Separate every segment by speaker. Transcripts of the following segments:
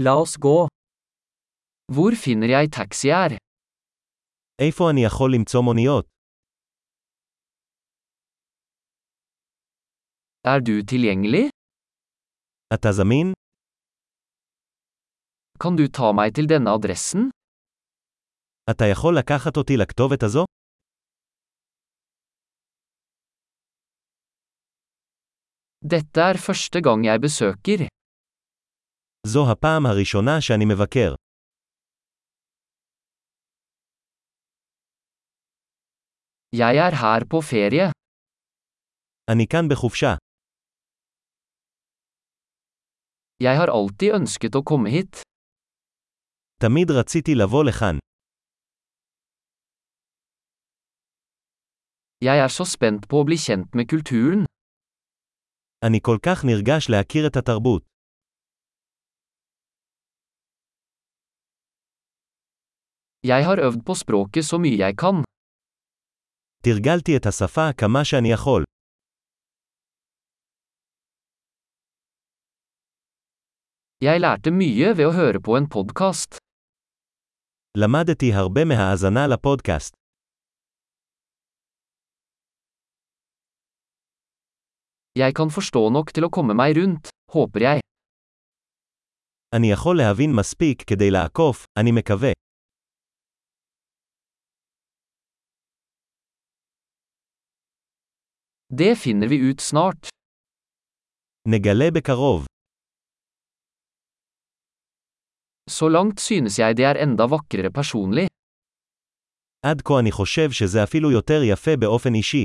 Speaker 1: La oss gå. Hvor finner jeg taxi her?
Speaker 2: איפה אני יכול למצוא מוניות?
Speaker 1: Er du tilgjengelig?
Speaker 2: אתה זמין?
Speaker 1: Kan du ta meg til denne adressen?
Speaker 2: אתה יכול לקחת אותי לכתובת הזו?
Speaker 1: Dette er første gang jeg besøker.
Speaker 2: זו הפעם הראשונה שאני מבקר.
Speaker 1: Jeg er her på ferie.
Speaker 2: אני כאן בחופשה.
Speaker 1: Jeg har alltid ønsket å komme hit.
Speaker 2: תמיד רציתי לבוא לכאן.
Speaker 1: Jeg er så spent på å bli kjent med kulturen.
Speaker 2: אני כל כך נרגש להכיר את התרבות.
Speaker 1: Jeg har øvd på språket så mye jeg kan.
Speaker 2: תרגלתי את השפה כמה שאני יכול.
Speaker 1: Jeg lærte mye ved å høre på en podkast.
Speaker 2: למדתי הרבה מההאזנה לפודקאסט.
Speaker 1: Jeg kan forstå nok til å komme meg rundt, håper jeg.
Speaker 2: אני יכול להבין מספיק כדי לעקוף, אני מקווה.
Speaker 1: Det finner vi ut snart.
Speaker 2: נגלה בקרוב.
Speaker 1: Så langt synes jeg det er enda vakrere personlig.
Speaker 2: עד כה אני חושב שזה אפילו יותר יפה באופן אישי.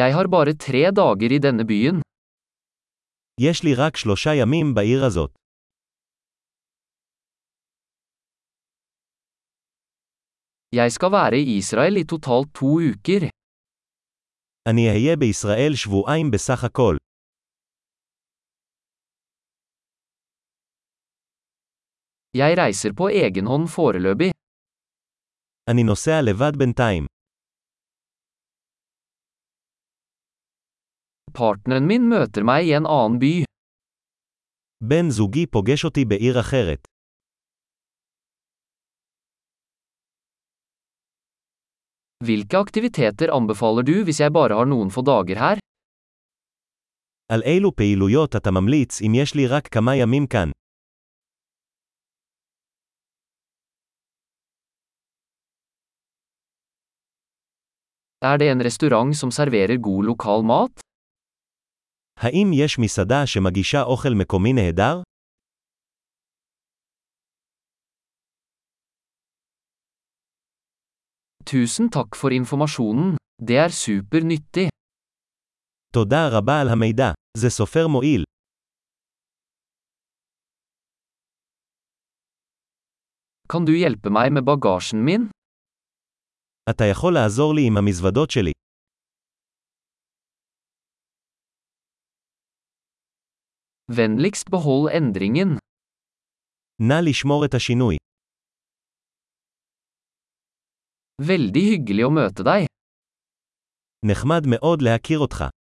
Speaker 1: Jeg har bare tre dager i denne byen.
Speaker 2: יש לי רק שלושה ימים בעיר הזאת.
Speaker 1: Jeg skal være i Israel i totalt to uker.
Speaker 2: אני אהיה בישראל שבועיים בסך הכל.
Speaker 1: Jeg reiser på egen hånd foreløpig.
Speaker 2: אני נוסע לבד בינתיים.
Speaker 1: Partneren min møter meg i en annen by.
Speaker 2: בן זוגי פוגש אותי בעיר אחרת.
Speaker 1: Hvilke aktiviteter anbefaler du hvis jeg bare har noen få dager her?
Speaker 2: על אילו פעילויות אתה ממליץ אם יש לי רק כמה ימים כאן?
Speaker 1: Er det en restaurant som serverer god lokal mat?
Speaker 2: האם יש מסעדה שמגישה אוכל מקומי נהדר?
Speaker 1: Tusen takk for informasjonen. Det er super nyttig.
Speaker 2: תודה רבה על המידע, זה סופר מועיל.
Speaker 1: Kan du hjelpe meg med bagasjen min?
Speaker 2: אתה יכול לעזור לי עם המזוודות שלי.
Speaker 1: Vennligst behold endringen.
Speaker 2: נא לשמור את השינוי.
Speaker 1: Veldig hyggelig å møte deg.
Speaker 2: נחמד מאוד להכיר אותך.